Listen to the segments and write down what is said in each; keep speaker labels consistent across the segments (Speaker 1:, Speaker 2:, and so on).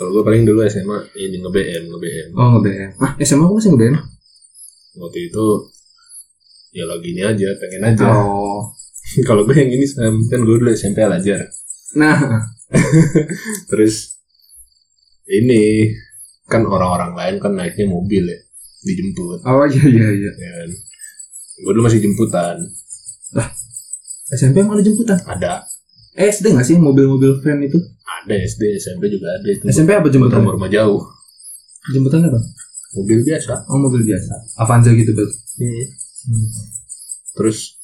Speaker 1: gue paling dulu SMA ini nge-BM nge-BM
Speaker 2: Oh nge-BM Ah SMA aku masih nge-BM
Speaker 1: waktu itu ya loginnya aja pengen aja
Speaker 2: Oh
Speaker 1: kalau gue yang ini Sam kan gue dulu SMP aja
Speaker 2: Nah
Speaker 1: terus ini kan orang-orang lain kan naiknya mobil ya dijemput
Speaker 2: Oh iya iya iya
Speaker 1: ya kan gue dulu masih jemputan
Speaker 2: SMP emang ada jemputan
Speaker 1: ada
Speaker 2: Eh SD gak sih mobil-mobil van itu
Speaker 1: ada SD SMP juga ada itu
Speaker 2: SMP
Speaker 1: buat
Speaker 2: apa jemputan?
Speaker 1: rumah rumah jauh
Speaker 2: Jemputan apa?
Speaker 1: mobil biasa Hmm.
Speaker 2: Oh mobil biasa Avanza gitu bet Hmm.
Speaker 1: terus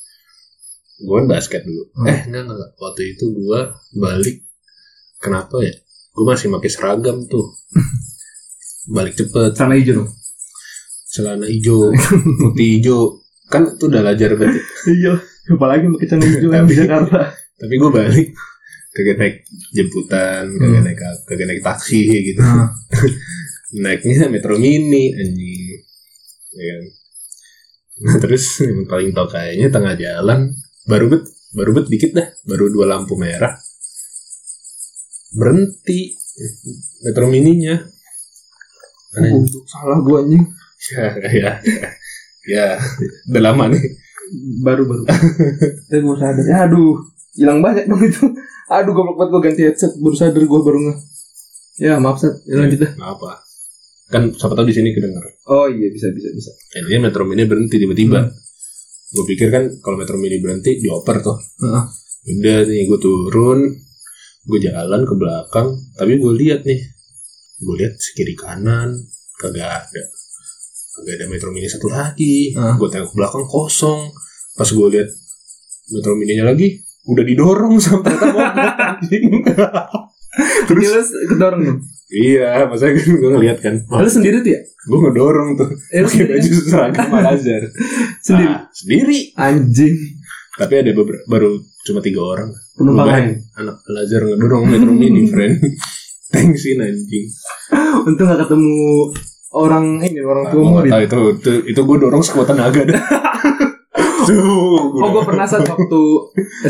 Speaker 1: gue basket dulu
Speaker 2: Hmm.
Speaker 1: eh enggak enggak enggak. waktu itu gue balik kenapa ya gue masih pakai seragam tuh balik cepet
Speaker 2: Sana hijau dong
Speaker 1: celana hijau putih hijau kan itu udah lajar berarti
Speaker 2: Iya Apalagi pakai celana hijau
Speaker 1: kan di
Speaker 2: Jakarta
Speaker 1: tapi gue balik kagak naik jemputan kagak
Speaker 2: Hmm.
Speaker 1: naik kagak naik taksi gitu
Speaker 2: Nah
Speaker 1: naiknya metro mini anjing ya kan? nah terus yang paling tau kayaknya tengah jalan baru bet baru bet dikit dah baru dua lampu merah berhenti metro mininya Mana-
Speaker 2: uh, Untuk salah gua anjing
Speaker 1: ya ya ya udah lama nih
Speaker 2: baru baru eh gue sadar ya aduh hilang banyak dong itu aduh goblok banget gue ganti headset baru sadar gue baru nge ya maaf set ya, lanjut dah
Speaker 1: apa kan siapa tahu di sini kedengeran
Speaker 2: oh iya bisa bisa bisa
Speaker 1: Jadinya Metro Mini berhenti tiba-tiba. Gue pikir kan kalau Metro Mini berhenti dioper tuh.
Speaker 2: Heeh.
Speaker 1: Udah nih gue turun, gue jalan ke belakang, tapi gue lihat nih, gue lihat sekiri kanan kagak ada, kagak ada Metro Mini satu lagi.
Speaker 2: Heeh.
Speaker 1: Gue tengok ke belakang kosong. Pas gue lihat Metro Mininya lagi, udah didorong sampai
Speaker 2: terus kedorong dong
Speaker 1: Iya, maksudnya kan gue ngeliat kan,
Speaker 2: lu sendiri tuh ya
Speaker 1: gue ngedorong tuh,
Speaker 2: eh, lu
Speaker 1: pakai
Speaker 2: sendiri
Speaker 1: baju
Speaker 2: kan?
Speaker 1: seragam Al Azhar.
Speaker 2: sendiri
Speaker 1: Ah, sendiri.
Speaker 2: anjing
Speaker 1: Tapi ada beberapa baru cuma tiga orang.
Speaker 2: penumpang
Speaker 1: Lu
Speaker 2: lain
Speaker 1: Anak belajar ngedorong metro mini, friend. Thanksin anjing.
Speaker 2: untung gak ketemu orang ini orang
Speaker 1: Nah,
Speaker 2: tua
Speaker 1: gua nggak
Speaker 2: murid
Speaker 1: tahu itu itu, itu gue dorong sekuat tenaga dah. Tuh,
Speaker 2: Oh gue pernah saat waktu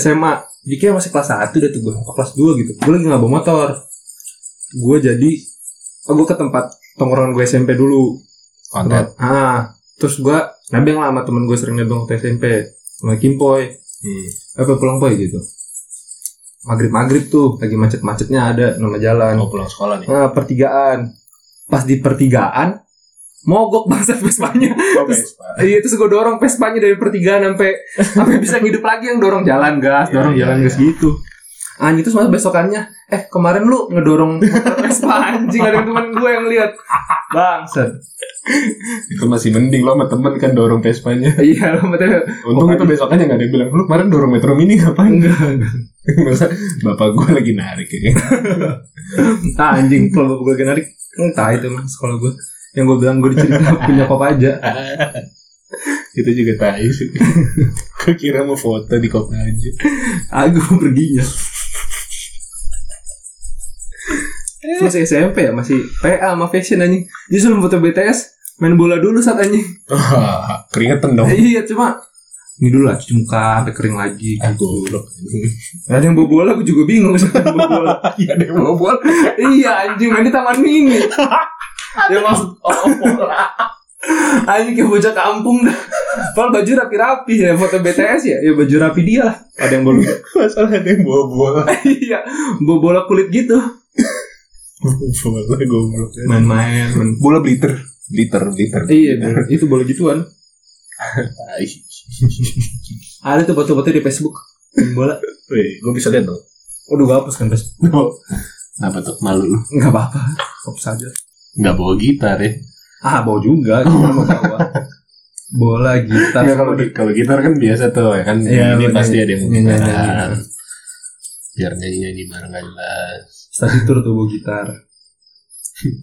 Speaker 2: SMA Dikira masih kelas 1 udah tuh gue Apa kelas 2 gitu Gue lagi nggak bawa motor Gue jadi oh, Gue ke tempat tongkrongan gue SMP dulu
Speaker 1: konten.
Speaker 2: Ah, terus gue nebeng lah sama temen gue sering nebeng waktu SMP sama Kimpoy.
Speaker 1: Hmm.
Speaker 2: Apa pulang Poy gitu. Maghrib maghrib tuh lagi macet-macetnya ada nama jalan.
Speaker 1: Mau pulang sekolah nih.
Speaker 2: Nah, pertigaan. Pas di pertigaan mogok bangsa Vespanya.
Speaker 1: Oke.
Speaker 2: Iya, terus gue dorong Vespanya dari pertigaan sampai sampai bisa ngidup lagi yang dorong jalan gas,
Speaker 1: Iya,
Speaker 2: dorong
Speaker 1: iya,
Speaker 2: jalan
Speaker 1: iya.
Speaker 2: gas gitu. Anjing terus masa besokannya, eh kemarin lu ngedorong motor Vespa anjing ada teman gue yang lihat. Bangsat.
Speaker 1: Itu masih mending lo sama temen kan dorong Vespanya.
Speaker 2: Iya, lo betul.
Speaker 1: Untung
Speaker 2: kan.
Speaker 1: itu besokannya nggak ada yang bilang lu kemarin dorong metro mini ngapain?
Speaker 2: Enggak.
Speaker 1: Masa bapak gue lagi narik ya.
Speaker 2: Ah anjing kalau gue genarik Entah itu mas kalau gue Yang gue bilang gue diceritain punya kop aja
Speaker 1: itu juga tai sih. Gue kira mau foto di kota aja.
Speaker 2: Aku perginya Terus Masih SMP ya masih PA sama fashion anjing Jadi sebelum foto BTS Main bola dulu saat anjing
Speaker 1: Keringetan dong.
Speaker 2: Iya cuma Ini dulu lah cuci muka sampai kering lagi
Speaker 1: Ah, goblok.
Speaker 2: Ada yang bawa bola gue juga bingung siapa yang bawa bola
Speaker 1: Iya ada yang bawa bola.
Speaker 2: Iya anjing main di taman mini Ya maksud oh, bola Anjing kayak bocah kampung dah Padahal baju rapi-rapi ya Foto BTS ya Ya baju rapi dia lah Ada yang bawa
Speaker 1: Masalah ada yang bawa bola.
Speaker 2: Iya Bawa bola kulit gitu
Speaker 1: bola goblok.
Speaker 2: Main-main main-
Speaker 1: Bola bliter. Bliter, bliter.
Speaker 2: Iya bola. itu bola gituan
Speaker 1: Tai.
Speaker 2: Ada tuh foto-foto di Facebook Main Bola
Speaker 1: Weh, gue bisa lihat dong.
Speaker 2: Waduh gak hapus kan Facebook
Speaker 1: Kenapa tuh? Malu lu.
Speaker 2: Gak apa-apa Hapus aja
Speaker 1: Nggak bawa gitar ya.
Speaker 2: Ah bawa juga Cuma mau bawa Bola gitar
Speaker 1: Nggak, Iya, kalau di- kalau gitar kan biasa tuh ya kan.
Speaker 2: Iya,
Speaker 1: ini
Speaker 2: bener.
Speaker 1: pasti ada yang mau
Speaker 2: Iya, iya,
Speaker 1: gitaran.
Speaker 2: iya.
Speaker 1: Biar nyanyi-nyanyi bareng nggak jelas.
Speaker 2: Study tour tuh bawa gitar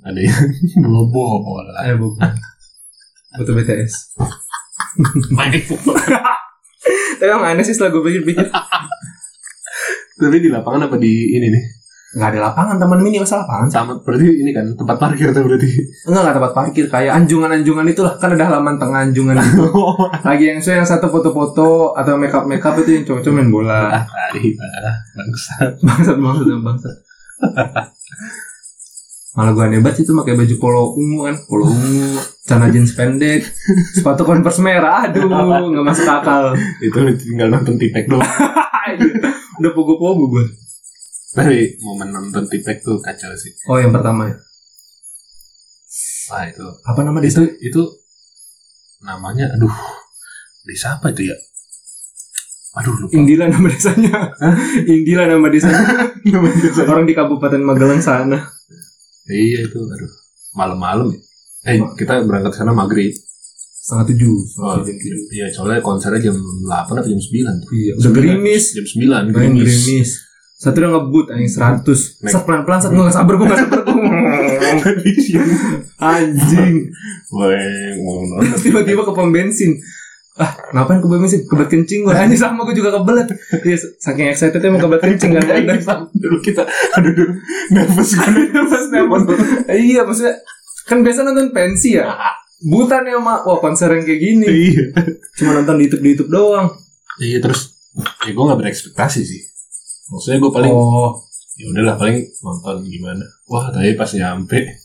Speaker 1: Ada yang bawa bola.
Speaker 2: Ayo bawa bola. Foto BTS
Speaker 1: Main bola.
Speaker 2: Tapi emang aneh sih setelah gue pikir-pikir
Speaker 1: Tapi di lapangan apa di ini nih?
Speaker 2: Gak ada lapangan teman mini masa lapangan
Speaker 1: Sama berarti ini kan tempat parkir tuh berarti.
Speaker 2: Enggak gak tempat parkir Kayak anjungan-anjungan itulah Kan ada halaman tengah anjungan gitu Lagi yang saya yang satu foto-foto Atau make up-make up itu yang cowok-cowok main bola
Speaker 1: Ah, tai, ah, bangsa.
Speaker 2: Bangsat bangsat bangsat malah gua aneh banget itu pakai baju polo ungu kan polo ungu celana jeans pendek sepatu converse merah aduh nggak masuk akal
Speaker 1: itu tinggal nonton tipek doang
Speaker 2: udah pogo-pogo gua
Speaker 1: tapi momen nonton tipek tuh kacau sih
Speaker 2: oh yang pertama ya.
Speaker 1: wah itu
Speaker 2: apa nama
Speaker 1: itu
Speaker 2: desa
Speaker 1: itu namanya aduh desa apa itu ya aduh lupa
Speaker 2: Indila nama desanya Indila nama desanya orang di Kabupaten Magelang sana
Speaker 1: iya itu aduh malam-malam ya eh kita berangkat sana maghrib
Speaker 2: setengah tujuh
Speaker 1: Oh, iya soalnya konsernya jam 8 atau jam 9 tuh.
Speaker 2: iya udah gerimis
Speaker 1: Jam Oh, 9
Speaker 2: Main
Speaker 1: gerimis.
Speaker 2: gerimis. Satu udah ngebut anjing 100.
Speaker 1: Naik.
Speaker 2: Sat pelan-pelan sat gua nggak sabar gua nggak sabar.
Speaker 1: Oh,
Speaker 2: gua. anjing.
Speaker 1: Weh, ngono.
Speaker 2: Tiba-tiba ke pom bensin. Ah, ngapain ke pom bensin? Kebelet kencing gua. Anjing sama gua juga kebelet. Iya, saking excited emang kebelet kencing kan ada.
Speaker 1: Dulu kita aduh aduh, nervous gue.
Speaker 2: Pas nembus. Iya, maksudnya kan biasa nonton pensi ya. Buta nih sama wah konser yang kayak gini.
Speaker 1: Iya.
Speaker 2: Cuma nonton di YouTube di YouTube doang.
Speaker 1: Iya terus ya gue gak berekspektasi sih. Maksudnya gue paling
Speaker 2: Oh,
Speaker 1: ya udahlah paling nonton gimana. Wah tapi pas nyampe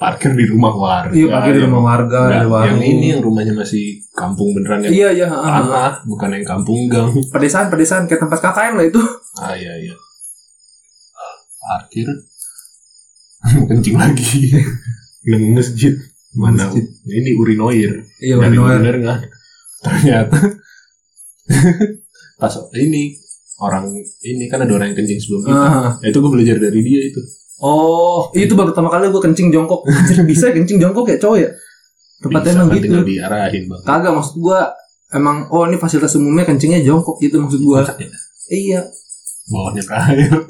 Speaker 1: parkir di rumah warga.
Speaker 2: iya pagi di
Speaker 1: yang-
Speaker 2: rumah warga,
Speaker 1: Enggak,
Speaker 2: ada warung.
Speaker 1: yang ini yang rumahnya masih kampung beneran yang
Speaker 2: Iya, iya, ah, ah.
Speaker 1: tanah, bukan yang kampung gang.
Speaker 2: pedesaan, pedesaan kayak tempat KKN lah itu.
Speaker 1: Ah iya iya. Parkir. Mau kencing lagi. Yang masjid. Mana?
Speaker 2: Masjid.
Speaker 1: Ini urinoir.
Speaker 2: Iya,
Speaker 1: Nyari
Speaker 2: benar.
Speaker 1: urinoir nggak? Ternyata pas ini orang ini kan ada orang yang kencing sebelum kita.
Speaker 2: Ah.
Speaker 1: Nah, itu gue belajar dari dia itu.
Speaker 2: Oh, itu baru pertama kali gue kencing jongkok. Anjir, bisa ya kencing jongkok ya cowok ya? Tempatnya
Speaker 1: Bisa
Speaker 2: emang
Speaker 1: kan,
Speaker 2: gitu.
Speaker 1: Tinggal diarahin bang.
Speaker 2: Kagak maksud gue emang oh ini fasilitas umumnya kencingnya jongkok gitu maksud gue.
Speaker 1: Kocak ya.
Speaker 2: Iya.
Speaker 1: Bawahnya terakhir.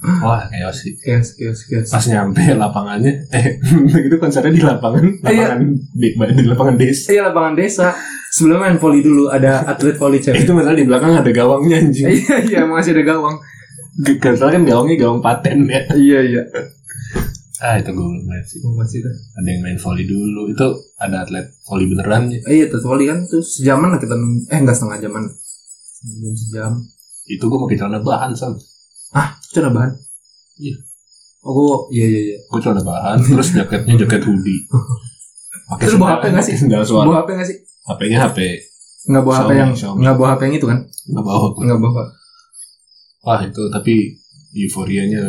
Speaker 1: Wah kayak sih.
Speaker 2: Kias, kias, kias.
Speaker 1: Pas nyampe lapangannya, eh itu konsernya di lapangan,
Speaker 2: Iya.
Speaker 1: lapangan di, di lapangan desa.
Speaker 2: Iya lapangan desa. Sebelum main voli dulu ada atlet voli
Speaker 1: Eh,
Speaker 2: cewek.
Speaker 1: Itu masalah di belakang ada gawangnya anjing.
Speaker 2: Iya iya emang masih ada gawang.
Speaker 1: G- Gak salah kan gawangnya gawang paten ya.
Speaker 2: Iya iya.
Speaker 1: Ah itu gue belum main sih.
Speaker 2: Oh, masih ada.
Speaker 1: Ada yang main volley dulu. Itu ada atlet volley beneran ya.
Speaker 2: Eh, Iya atlet voli kan tuh sejaman lah kita nunggu. eh enggak setengah jaman. Sejam sejam.
Speaker 1: Itu gue pakai celana bahan sam.
Speaker 2: Ah, Itu ada bahan.
Speaker 1: Iya.
Speaker 2: Oh gue iya iya iya.
Speaker 1: Gue celana bahan. terus jaketnya jaket hoodie. Pakai
Speaker 2: Terus
Speaker 1: sendal-
Speaker 2: bawa HP nggak sih?
Speaker 1: pakai Sendal suara.
Speaker 2: Bawa HP nggak sih?
Speaker 1: HP-nya HP.
Speaker 2: Nggak bawa HP
Speaker 1: Xiaomi,
Speaker 2: yang
Speaker 1: Xiaomi.
Speaker 2: nggak bawa HP yang itu kan?
Speaker 1: Gak bawa gue.
Speaker 2: Nggak bawa.
Speaker 1: Wah itu tapi euforianya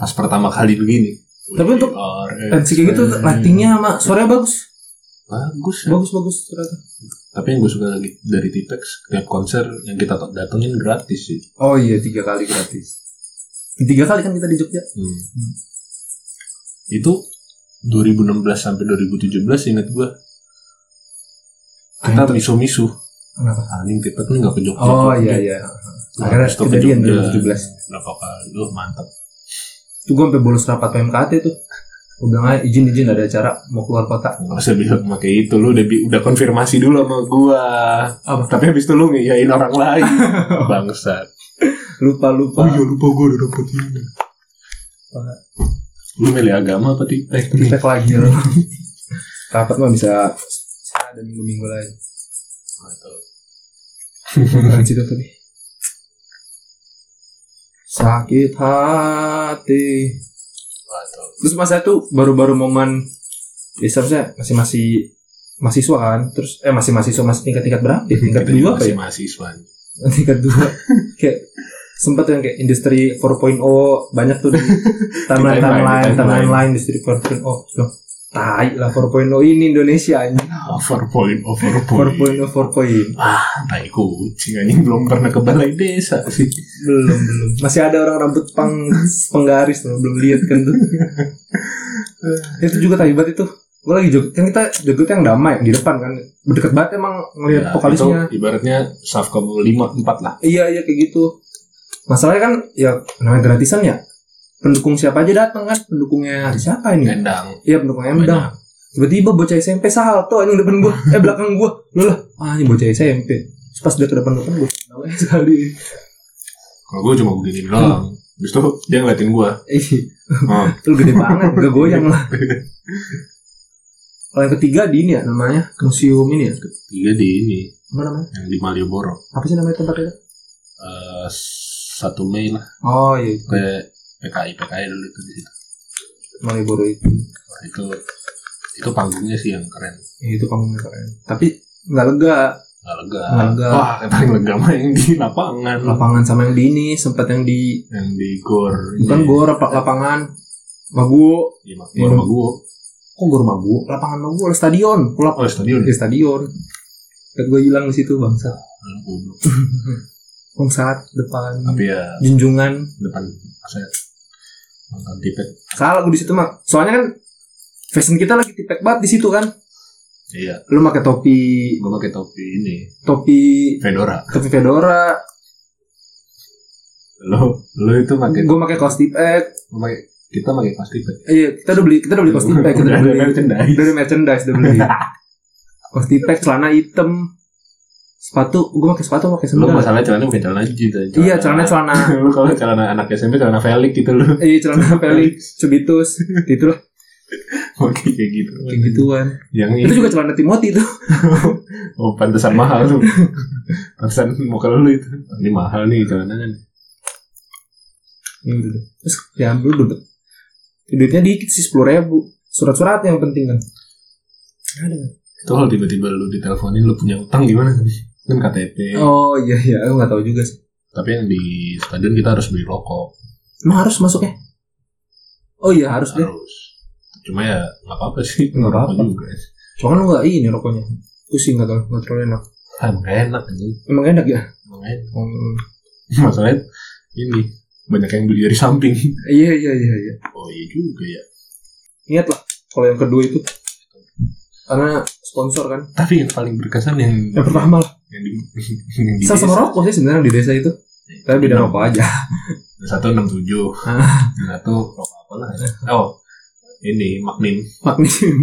Speaker 1: pas pertama kali begini.
Speaker 2: Tapi untuk
Speaker 1: WRX,
Speaker 2: pensi kayak gitu
Speaker 1: eh,
Speaker 2: latihnya sama suaranya bagus
Speaker 1: bagus ya.
Speaker 2: bagus bagus Iya. ternyata
Speaker 1: Tapi yang gue suka lagi dari T-Tex tiap konser yang kita datengin gratis sih.
Speaker 2: oh iya tiga kali gratis tiga kali kan kita di Jogja
Speaker 1: Hmm. Itu 2016 sampai 2017 ingat gua kita
Speaker 2: Akhirnya-
Speaker 1: misu-misu
Speaker 2: kenapa
Speaker 1: anjing tipe nih nggak ke Jogja
Speaker 2: oh
Speaker 1: Jogja.
Speaker 2: iya iya
Speaker 1: Nah,
Speaker 2: akhirnya
Speaker 1: terus tuh ke
Speaker 2: kejadian
Speaker 1: Jogja.
Speaker 2: 2017
Speaker 1: berapa kali Duh, mantap
Speaker 2: itu gue sampai bolos rapat PMKT tuh gue bilang aja izin izin ada acara mau keluar kota
Speaker 1: nggak usah bilang pakai itu lu udah bi- udah konfirmasi dulu sama gua
Speaker 2: Apa?
Speaker 1: tapi habis itu lu ngiyain orang lain bangsat
Speaker 2: lupa lupa
Speaker 1: Oh, iya, lupa gua udah dapet ini lu milih agama apa tipek
Speaker 2: kita lagi loh rapat mah bisa bisa ada minggu minggu lain
Speaker 1: Nah, itu.
Speaker 2: Bukan situ tadi. sakit hati
Speaker 1: Nah, itu.
Speaker 2: Terus pas saya tuh baru-baru momen ya seharusnya masih masih mahasiswa kan. Terus eh masih mahasiswa masih tingkat-tingkat berapa? ya? Tingkat
Speaker 1: Kita
Speaker 2: dua
Speaker 1: juga
Speaker 2: apa
Speaker 1: masih
Speaker 2: ya?
Speaker 1: mahasiswa
Speaker 2: Tingkat kan dua. kayak sempat yang kayak industri 4.0 banyak tuh di
Speaker 1: Di timeline, di
Speaker 2: timeline timeline
Speaker 1: timeline.
Speaker 2: timeline lain industri 4.0 loh tai lah 4.0 ini Indonesia anjing
Speaker 1: Ah,
Speaker 2: oh,
Speaker 1: overpoint overpoint
Speaker 2: 4.0 4.0
Speaker 1: tai ya, kucing anjing belum pernah ke balai desa sih
Speaker 2: belum belum masih ada orang rambut pang penggaris tuh belum lihat kan tuh itu juga tai banget itu gue lagi joget kan kita joget yang damai di depan kan deket banget emang ngelihat
Speaker 1: Ya,
Speaker 2: Oh, iya, vokalisnya
Speaker 1: itu ibaratnya Safka 5 4 lah
Speaker 2: iya iya kayak gitu masalahnya kan ya namanya gratisan ya pendukung siapa aja datang kan pendukungnya siapa ini
Speaker 1: nendang
Speaker 2: iya pendukung Emdang tiba-tiba bocah SMP salto anjing depan gua eh belakang gua lu lah ah ini bocah SMP Terus pas dia ke depan depan gua namanya sekali
Speaker 1: kalau gue cuma begini doang Habis itu dia ngeliatin gue
Speaker 2: Ih,
Speaker 1: oh,
Speaker 2: lu gede banget gak goyang lah kalau yang ketiga di ini ya namanya museum ini ya
Speaker 1: tiga Iya di ini
Speaker 2: apa namanya
Speaker 1: yang di Malioboro
Speaker 2: apa sih namanya tempatnya
Speaker 1: Eh, satu Mei lah
Speaker 2: oh iya
Speaker 1: kayak PKI PKI dulu itu di situ
Speaker 2: Malibu itu.
Speaker 1: itu itu panggungnya sih yang keren
Speaker 2: Ya, itu panggungnya keren. Tapi nggak lega.
Speaker 1: nggak lega
Speaker 2: Nggak lega.
Speaker 1: wah yang paling lega mah yang di lapangan
Speaker 2: Lapangan sama yang di ini sempat yang di
Speaker 1: yang di gor
Speaker 2: bukan
Speaker 1: Iya.
Speaker 2: gor apa lapangan Magu.
Speaker 1: Iya, mak- gor
Speaker 2: Iya.
Speaker 1: Maguwo.
Speaker 2: Kok gor Magu? Lapangan Magu oleh stadion. Pulau
Speaker 1: oh stadion
Speaker 2: di stadion. Dan gue hilang di situ bangsa.
Speaker 1: Lalu Hmm, goblok.
Speaker 2: Bangsat depan
Speaker 1: tapi ya
Speaker 2: junjungan.
Speaker 1: depan saya nonton tipet
Speaker 2: Salah gue di situ mah. Soalnya kan fashion kita lagi tipek banget di situ kan.
Speaker 1: iya
Speaker 2: Lu pakai topi
Speaker 1: gue pakai topi ini
Speaker 2: topi
Speaker 1: fedora
Speaker 2: topi fedora.
Speaker 1: lo lo itu pakai
Speaker 2: Gue pakai kaos tipek.
Speaker 1: gua pakai kita pakai kaos tipet
Speaker 2: Iya, kita udah beli kita udah beli kaos tipek. Kita
Speaker 1: Udah
Speaker 2: udah
Speaker 1: ada
Speaker 2: beli
Speaker 1: merchandise.
Speaker 2: Udah ada merchandise udah beli. kaos tipek, celana hitam, sepatu. Gue pakai sepatu pakai
Speaker 1: lo
Speaker 2: sendal.
Speaker 1: masalah celana bukan celana jeans
Speaker 2: Iya, celana celana.
Speaker 1: lo kalau celana anak SMP celana Felix gitu lo
Speaker 2: Iya, celana Felix, Subitus, gitu lah,
Speaker 1: pakai kayak gitu
Speaker 2: kayak gituan.
Speaker 1: yang ini
Speaker 2: Itu juga celana Timothy itu.
Speaker 1: oh pantesan mahal tuh pantesan mau kalau lo itu ini mahal nih celana kan
Speaker 2: Ya udah deh. Terus diambil dulu. Duitnya dikit sih sepuluh ribu. Surat-surat yang penting kan. Ada.
Speaker 1: itu kalau tiba-tiba lo diteleponin lo punya utang gimana kan KTP
Speaker 2: Oh iya iya, aku nggak tahu juga sih.
Speaker 1: tapi yang di stadion kita harus beli rokok
Speaker 2: Emang harus masuk ya? Oh iya harus deh.
Speaker 1: harus cuma ya nggak apa-apa sih
Speaker 2: Nggak apa-apa.
Speaker 1: Rokok juga
Speaker 2: Soalnya lu nggak ini rokoknya. Pusing nggak tahu nggak terlalu enak.
Speaker 1: ah emang enak anjing
Speaker 2: Emang enak ya?
Speaker 1: Emang enak.
Speaker 2: Hmm.
Speaker 1: masalahnya ini banyak yang beli dari samping
Speaker 2: Iya iya iya iya.
Speaker 1: oh iya juga ya
Speaker 2: Niat lah. Kalau yang kedua itu karena sponsor kan.
Speaker 1: tapi yang paling berkesan yang
Speaker 2: Yang pertama lah.
Speaker 1: yang di, yang di
Speaker 2: Sama sama rokok sih sebenarnya di desa itu. Tapi beda rokok aja.
Speaker 1: satu enam tujuh satu rokok apa lah oh ini maknim
Speaker 2: Magnesium.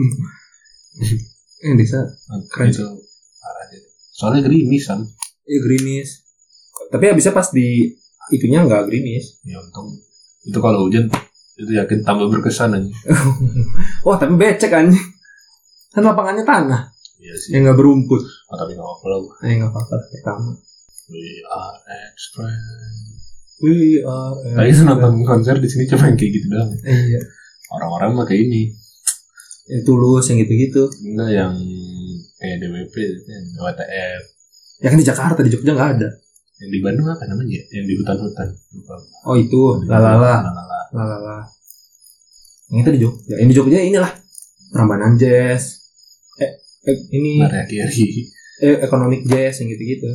Speaker 2: yang desa Keren.
Speaker 1: itu parah sih soalnya grimisan
Speaker 2: Iya gerimis. Tapi habisnya pas di itunya nggak gerimis.
Speaker 1: ya untung itu kalau hujan itu yakin tambah berkesan aja
Speaker 2: Wah tapi becek kan. Kan lapangannya tanah.
Speaker 1: iya sih
Speaker 2: Yang nggak berumput.
Speaker 1: oh, tapi nggak apa-apa lah
Speaker 2: Eh nggak apa-apa lah, pertama.
Speaker 1: we are express
Speaker 2: We are. eh,
Speaker 1: Tadi tuh nonton konser di sini cuma yang kayak gitu doang.
Speaker 2: Iya.
Speaker 1: Orang-orang mah kayak ini.
Speaker 2: Yang tulus yang gitu-gitu.
Speaker 1: Enggak yang kayak DWP, yang WTF.
Speaker 2: Ya kan di Jakarta di Jogja nggak ada.
Speaker 1: Yang di Bandung apa namanya? ya? Yang di hutan-hutan. Lupa.
Speaker 2: Oh itu lalala
Speaker 1: Lalala.
Speaker 2: lalala. Yang itu di Jogja. Yang di Jogja inilah Rambanan Jazz. Eh, eh, ini
Speaker 1: Ntar akhir-akhir.
Speaker 2: eh, economic jazz yang gitu-gitu.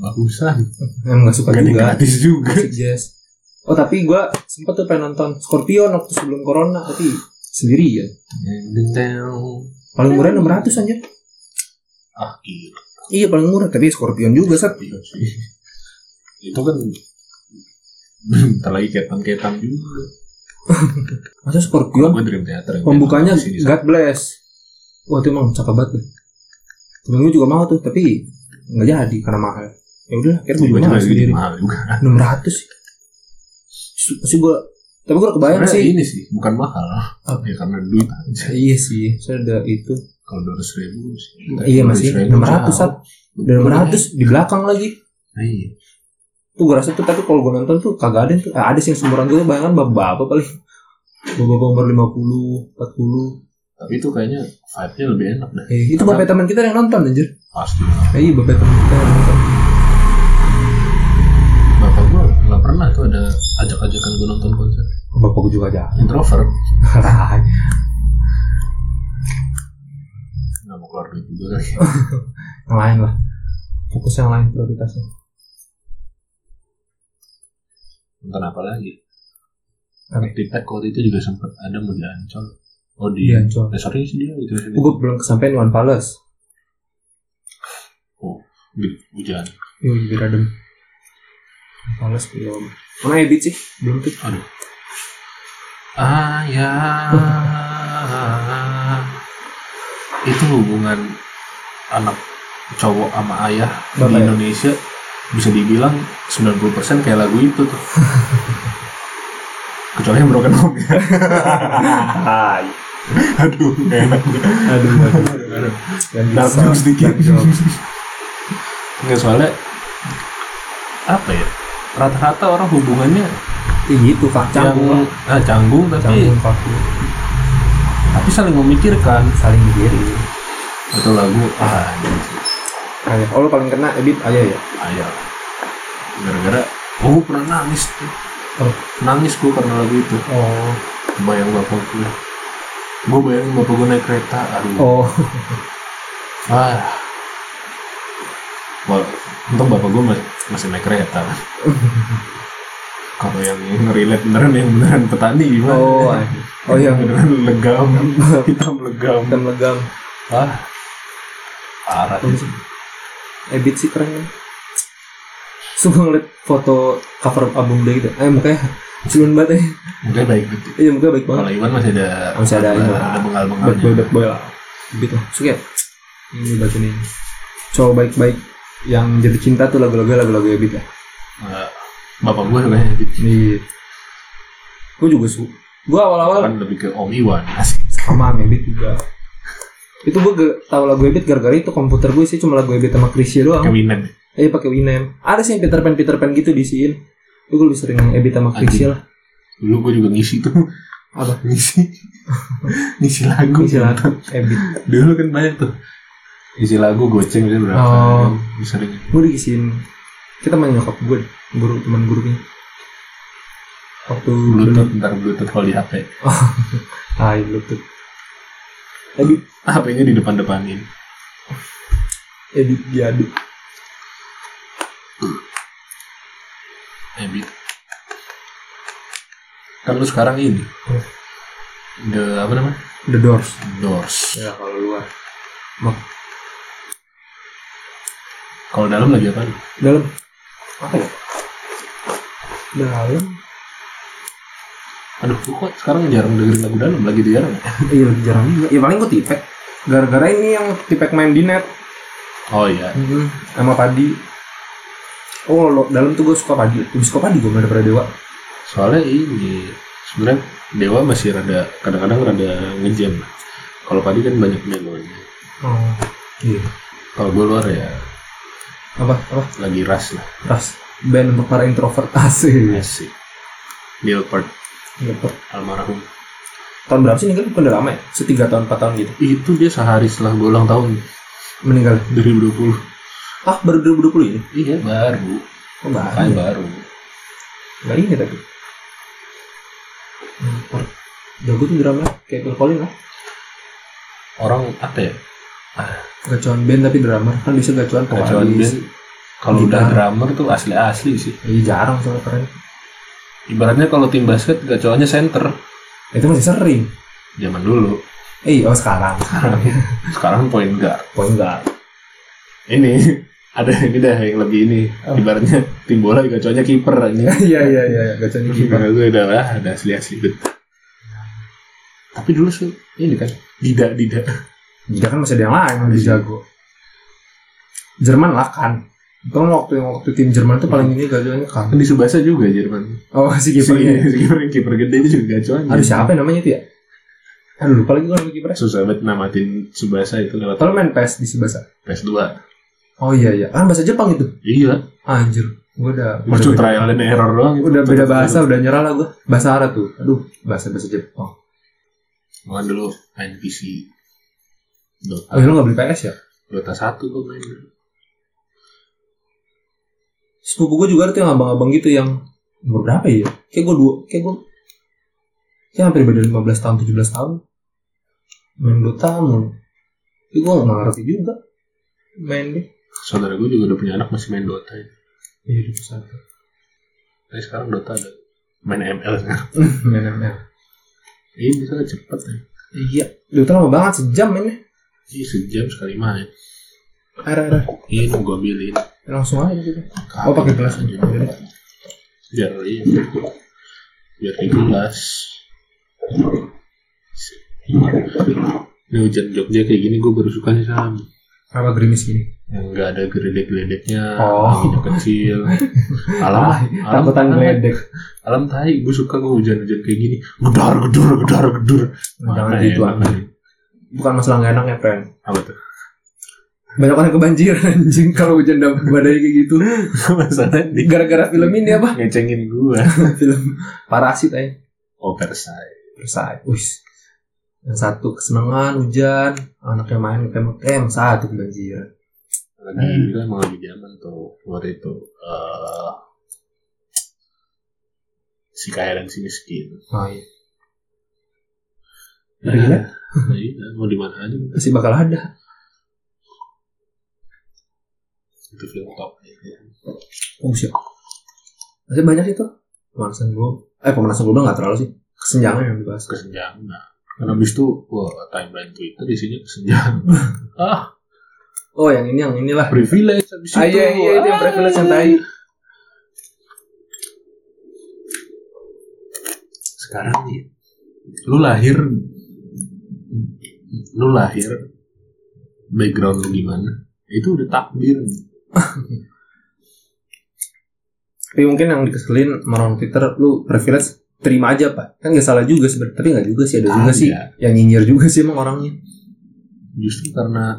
Speaker 1: Bagusan.
Speaker 2: Yang nggak suka
Speaker 1: Gak ada yang
Speaker 2: juga.
Speaker 1: gratis juga.
Speaker 2: musik jazz. Oh tapi gue sempet tuh pengen nonton Scorpion waktu sebelum corona tapi sendiri ya. Paling murah 600 anjir.
Speaker 1: Ah gila.
Speaker 2: Iya paling murah tapi Scorpion juga sat.
Speaker 1: Iya sih. Itu kan Ntar lagi ketan-ketan juga.
Speaker 2: Masa
Speaker 1: Gue
Speaker 2: Scorpion
Speaker 1: Dream Theater. yang
Speaker 2: pembukanya
Speaker 1: nonton di sini.
Speaker 2: God bless. Wah itu emang cakep banget. Temen gue juga mau tuh tapi nggak jadi karena mahal. Ya udah akhirnya gue
Speaker 1: Gua
Speaker 2: juga
Speaker 1: juga
Speaker 2: mahal
Speaker 1: lagi
Speaker 2: sendiri.
Speaker 1: mahal juga.
Speaker 2: 600 sih. Su- Masih gue tapi gue kebayang
Speaker 1: Sebenarnya iya.
Speaker 2: sih.
Speaker 1: ini sih bukan mahal.
Speaker 2: Apa?
Speaker 1: Ya karena duit aja.
Speaker 2: Iya sih, saya ada itu.
Speaker 1: Kalau dua ratus ribu sih.
Speaker 2: Iya masih
Speaker 1: 200.000
Speaker 2: 600
Speaker 1: jauh.
Speaker 2: sat. Dan 600 di belakang lagi.
Speaker 1: Nah, Iya.
Speaker 2: tuh gue rasa tuh tapi kalau gue nonton tuh kagak ada yang tuh Ah, ada sih yang seumuran gue bayangkan bapak-bapak paling bapak-bapak umur 50, 40
Speaker 1: Tapi itu kayaknya vibe-nya lebih enak dah.
Speaker 2: eh, itu bapak teman kita yang nonton anjir
Speaker 1: Pasti.
Speaker 2: eh, iya bapak teman kita yang nonton
Speaker 1: Bapak gua nggak pernah tuh ada ajak-ajakan gua nonton konser.
Speaker 2: Oh, bapak gue juga aja
Speaker 1: Introvert. Nggak mau keluar duit juga ya. lagi.
Speaker 2: yang lain lah fokus yang lain prioritasnya
Speaker 1: Nonton apa lagi?
Speaker 2: Apa?
Speaker 1: Di Pet waktu itu juga sempat ada mau di Ancol. Oh di.
Speaker 2: iya coba
Speaker 1: Eh, sorry sih dia itu.
Speaker 2: gue belum kesampean One Palace
Speaker 1: Di hujan.
Speaker 2: iya lebih radem One Palace belum mana Ebit sih belum tuh
Speaker 1: Aduh. Ayah. itu hubungan anak cowok sama ayah
Speaker 2: Bapak
Speaker 1: di
Speaker 2: ya?
Speaker 1: Indonesia bisa dibilang 90% kayak lagu itu tuh. Kecuali yang broken home ya.
Speaker 2: Ah,
Speaker 1: Aduh, nggak enak.
Speaker 2: aduh aduh
Speaker 1: Aduh.
Speaker 2: dan
Speaker 1: Dark
Speaker 2: bisa
Speaker 1: Nah, jokes dikit.
Speaker 2: dark jokes.
Speaker 1: Nggak soalnya apa ya? Rata-rata orang hubungannya
Speaker 2: ya gitu kak
Speaker 1: canggung ah, canggung tapi
Speaker 2: canggung kaku
Speaker 1: tapi saling memikirkan
Speaker 2: saling diri
Speaker 1: satu lagu ah
Speaker 2: Ayo, oh lu paling kena edit aja ya
Speaker 1: ayo gara-gara oh pernah nangis tuh
Speaker 2: Oh.
Speaker 1: nangis gue karena lagu itu
Speaker 2: oh
Speaker 1: bayang bapak gue gue bayangin bapak gue naik kereta aduh
Speaker 2: oh
Speaker 1: ah Wal untung bapak gue masih, masih naik kereta kalau yang relate beneran yang beneran petani gimana
Speaker 2: oh oh
Speaker 1: yang
Speaker 2: yang
Speaker 1: beneran legam hitam legam
Speaker 2: hitam legam
Speaker 1: ah parah sih.
Speaker 2: edit sih keren kan suka ngeliat foto cover album dia gitu eh mukanya culun banget ya
Speaker 1: mungkin baik gitu
Speaker 2: iya mukanya baik banget
Speaker 1: kalau Iwan masih ada
Speaker 2: Masih ada ini lah.
Speaker 1: ada ya? bengal
Speaker 2: bad boy
Speaker 1: bengalnya
Speaker 2: bad boy lah gitu suka ya? ini baca nih cowok baik baik yang jadi cinta tuh lagu-lagu lagu-lagu edit ya
Speaker 1: bapak gue sebenarnya gitu
Speaker 2: iya gue juga suka gue awal-awal
Speaker 1: kan lebih ke Om Iwan asik
Speaker 2: sama sama Ebit juga itu gue tahu lagu Ebit gara-gara itu komputer gue sih cuma lagu Ebit sama Chrisye doang
Speaker 1: kawinan
Speaker 2: eh pakai Winem ada sih yang Peter Pan Peter Pan gitu diisiin itu gue lebih sering yang Ebit sama Chrisye lah
Speaker 1: dulu gue juga ngisi tuh
Speaker 2: apa
Speaker 1: ngisi ngisi lagu
Speaker 2: Chrisye lah Ebit
Speaker 1: dulu kan banyak tuh isi lagu goceng bisa berapa kan.
Speaker 2: Oh.
Speaker 1: bisa dengan
Speaker 2: gue diisiin kita main nyokap gue deh guru teman gurunya waktu
Speaker 1: bluetooth ntar bluetooth kalau di hp
Speaker 2: ah iya, bluetooth Ebit
Speaker 1: hpnya di depan depanin
Speaker 2: Ebit diaduk
Speaker 1: Ebit kan lu sekarang ini
Speaker 2: Hmm.
Speaker 1: the apa namanya
Speaker 2: The Doors
Speaker 1: doors
Speaker 2: ya kalau luar
Speaker 1: kalau dalam lagi apa
Speaker 2: dalam apa ya dalam
Speaker 1: aduh gua kok sekarang jarang dengerin lagu dalam lagi jarang ya?
Speaker 2: Iya lebih jarang juga. Ya paling gue tipek. Gara-gara ini yang tipek main di net
Speaker 1: oh iya
Speaker 2: Mm-hmm. sama padi. Oh lo, dalam tuh gue suka padi. Lebih suka padi gue daripada dewa.
Speaker 1: soalnya ini sebenarnya dewa masih rada kadang-kadang rada ngejam kalau padi kan banyak memonya
Speaker 2: Oh. Iya.
Speaker 1: kalau gue luar ya
Speaker 2: Apa apa?
Speaker 1: lagi ras lah Iya
Speaker 2: Ras. Band untuk para introvert asik.
Speaker 1: asik Leopard
Speaker 2: Gitu.
Speaker 1: almarhum
Speaker 2: Tahun berapa sih ninggal? Bukan udah lama ya? Setiga tahun, empat tahun gitu.
Speaker 1: itu dia sehari setelah gue ulang tahun
Speaker 2: Meninggal.
Speaker 1: 2020
Speaker 2: Ah baru 2020 ini?
Speaker 1: iya baru
Speaker 2: Oh nggak.
Speaker 1: makanya baru
Speaker 2: Nggak ini tapi. Introvert. Jago tuh drama kayak Phil Collins lah.
Speaker 1: orang apa ya
Speaker 2: Gacuan band tapi drama kan bisa gacuan
Speaker 1: kacauan
Speaker 2: vokalis.
Speaker 1: band kalau
Speaker 2: Gitar.
Speaker 1: udah drummer tuh asli-asli sih
Speaker 2: Iya jarang soalnya keren.
Speaker 1: ibaratnya kalau tim basket kacauannya center
Speaker 2: Itu masih sering.
Speaker 1: zaman dulu
Speaker 2: Eh, oh sekarang. Oh, Sekarang.
Speaker 1: sekarang point guard
Speaker 2: Point guard.
Speaker 1: ini ada ini dah yang lebih ini ibaratnya tim bola kacauannya kiper aja
Speaker 2: Iya, iya, iya. Gacanya gimana?
Speaker 1: gue udah lah ada asli-asli bet tapi dulu sih ini kan tidak tidak
Speaker 2: Dia kan masih ada yang lain yang lebih jago. Jerman lah kan. Kan waktu yang waktu tim Jerman tuh paling ini gacanya kan.
Speaker 1: kan di Subasa juga Jerman
Speaker 2: Oh, si
Speaker 1: Si
Speaker 2: kipernya.
Speaker 1: si kiper iya. kiper gede itu juga gacuan.
Speaker 2: Aduh, siapa yang namanya itu ya? Aduh, lupa lagi gue nama kipernya.
Speaker 1: Susah banget namatin Subasa itu lewat
Speaker 2: Kalau main PES di Subasa.
Speaker 1: PS2.
Speaker 2: Oh iya iya, kan bahasa Jepang itu.
Speaker 1: Iya,
Speaker 2: Anjir, gue udah
Speaker 1: Mas cuma trial dan error doang. itu.
Speaker 2: udah beda bahasa, udah nyerah lah gue. Bahasa Arab tuh. Aduh, bahasa bahasa Jepang.
Speaker 1: Gua dulu main PC.
Speaker 2: Oh,
Speaker 1: Dota,
Speaker 2: ya, lu gak beli PS ya?
Speaker 1: Dota 1 gua main. dulu.
Speaker 2: sepupu gue juga ada tuh yang abang-abang gitu yang umur berapa ya? Kayak gue dua, kayak gue kayak hampir beda 15 tahun, 17 tahun. Main Dota mulu. Tapi gue gak ngerti juga main deh.
Speaker 1: Saudara gua juga udah punya anak masih main Dota. Ya.
Speaker 2: Iya, di satu.
Speaker 1: Tapi sekarang Dota ada main ML sekarang.
Speaker 2: main ML.
Speaker 1: Ini bisa cepet ya.
Speaker 2: Iya, Dota lama banget sejam mainnya.
Speaker 1: Iya sejam sekali main. Iya,
Speaker 2: Air, air, air.
Speaker 1: Ini mau gua ambilin.
Speaker 2: Langsung aja gitu.
Speaker 1: Kapan
Speaker 2: Oh, pakai gelas.
Speaker 1: aja. Biar iya. Biar di gelas. Ini hujan Jogja kayak gini gue baru suka sih Sam.
Speaker 2: Kenapa gerimis gini?
Speaker 1: Yang nggak ada geledek-geledeknya,
Speaker 2: Oh.
Speaker 1: anginnya kecil. Alam, alam,
Speaker 2: Ah, Takutan
Speaker 1: alam,
Speaker 2: geledek.
Speaker 1: alam tai, gue suka gue hujan-hujan kayak gini. Gedar, gedor, gedar, gedor.
Speaker 2: Jangan
Speaker 1: Mana
Speaker 2: gitu,
Speaker 1: enak
Speaker 2: Bukan masalah gak enak ya, friend.
Speaker 1: Apa tuh?
Speaker 2: Banyak orang kebanjiran anjing kalau hujan dam- badai kayak gitu.
Speaker 1: Masalah di
Speaker 2: Gara-gara film ini apa?
Speaker 1: ngecengin gua.
Speaker 2: film Parasit aja.
Speaker 1: Oh, Persai.
Speaker 2: Bersai. Wis. Yang satu kesenangan hujan, anaknya main kem-kem, satu kebanjiran.
Speaker 1: Lagi
Speaker 2: Hmm.
Speaker 1: gila emang lagi zaman tuh waktu itu eh, si kaya dan si miskin.
Speaker 2: Oh iya.
Speaker 1: Nah,
Speaker 2: Gila.
Speaker 1: iya, mau di mana aja kita
Speaker 2: Masih bakal ada.
Speaker 1: itu film top. Iya.
Speaker 2: Oh siap. Masih banyak itu. Pemanasan gue. Eh pemanasan gue nggak terlalu sih. Kesenjangan yang dibahas.
Speaker 1: Kesenjangan. Karena abis itu, wah, timeline Twitter isinya kesenjangan. ah,
Speaker 2: Oh yang ini yang inilah.
Speaker 1: privilege abis itu.
Speaker 2: Ah, iya, iya, itu yang
Speaker 1: Ah.
Speaker 2: privilege yang tai.
Speaker 1: Sekarang nih, lu lahir, lu lahir, background lu gimana? Itu udah takdir.
Speaker 2: Tapi mungkin yang dikeselin sama orang Twitter lu privilege terima aja pak kan gak salah juga sebenarnya tapi nggak juga sih ada juga
Speaker 1: Ah,
Speaker 2: sih
Speaker 1: iya.
Speaker 2: yang nyinyir juga sih emang orangnya
Speaker 1: Justru karena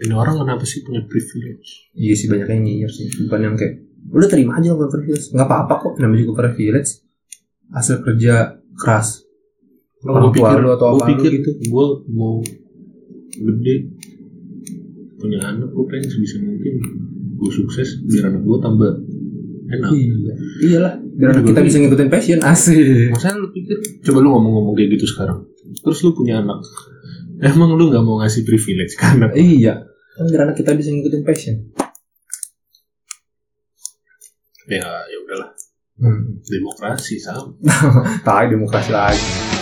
Speaker 1: ini orang kenapa sih punya privilege?
Speaker 2: Iya sih banyak yang nyinyir sih Bukan yang kayak Udah terima aja gue privilege Gak apa-apa kok Namanya juga privilege Hasil kerja keras Orang
Speaker 1: Gua
Speaker 2: tua lu atau
Speaker 1: gua
Speaker 2: apa lu
Speaker 1: pikir
Speaker 2: gitu
Speaker 1: Gue mau gede punya anak, gue pengen sebisa mungkin gue sukses biar anak gue tambah enak.
Speaker 2: Iya Iyalah Biar anak
Speaker 1: Gua
Speaker 2: kita
Speaker 1: pikir-
Speaker 2: bisa ngikutin passion Asik
Speaker 1: Maksudnya lu pikir Coba lu ngomong-ngomong kayak gitu sekarang Terus lu punya anak Emang lu gak mau ngasih privilege ke anak
Speaker 2: Iya Kan biar anak kita bisa ngikutin passion
Speaker 1: Ya ya udahlah
Speaker 2: hmm.
Speaker 1: Ya, Demokrasi sama
Speaker 2: Tai demokrasi lagi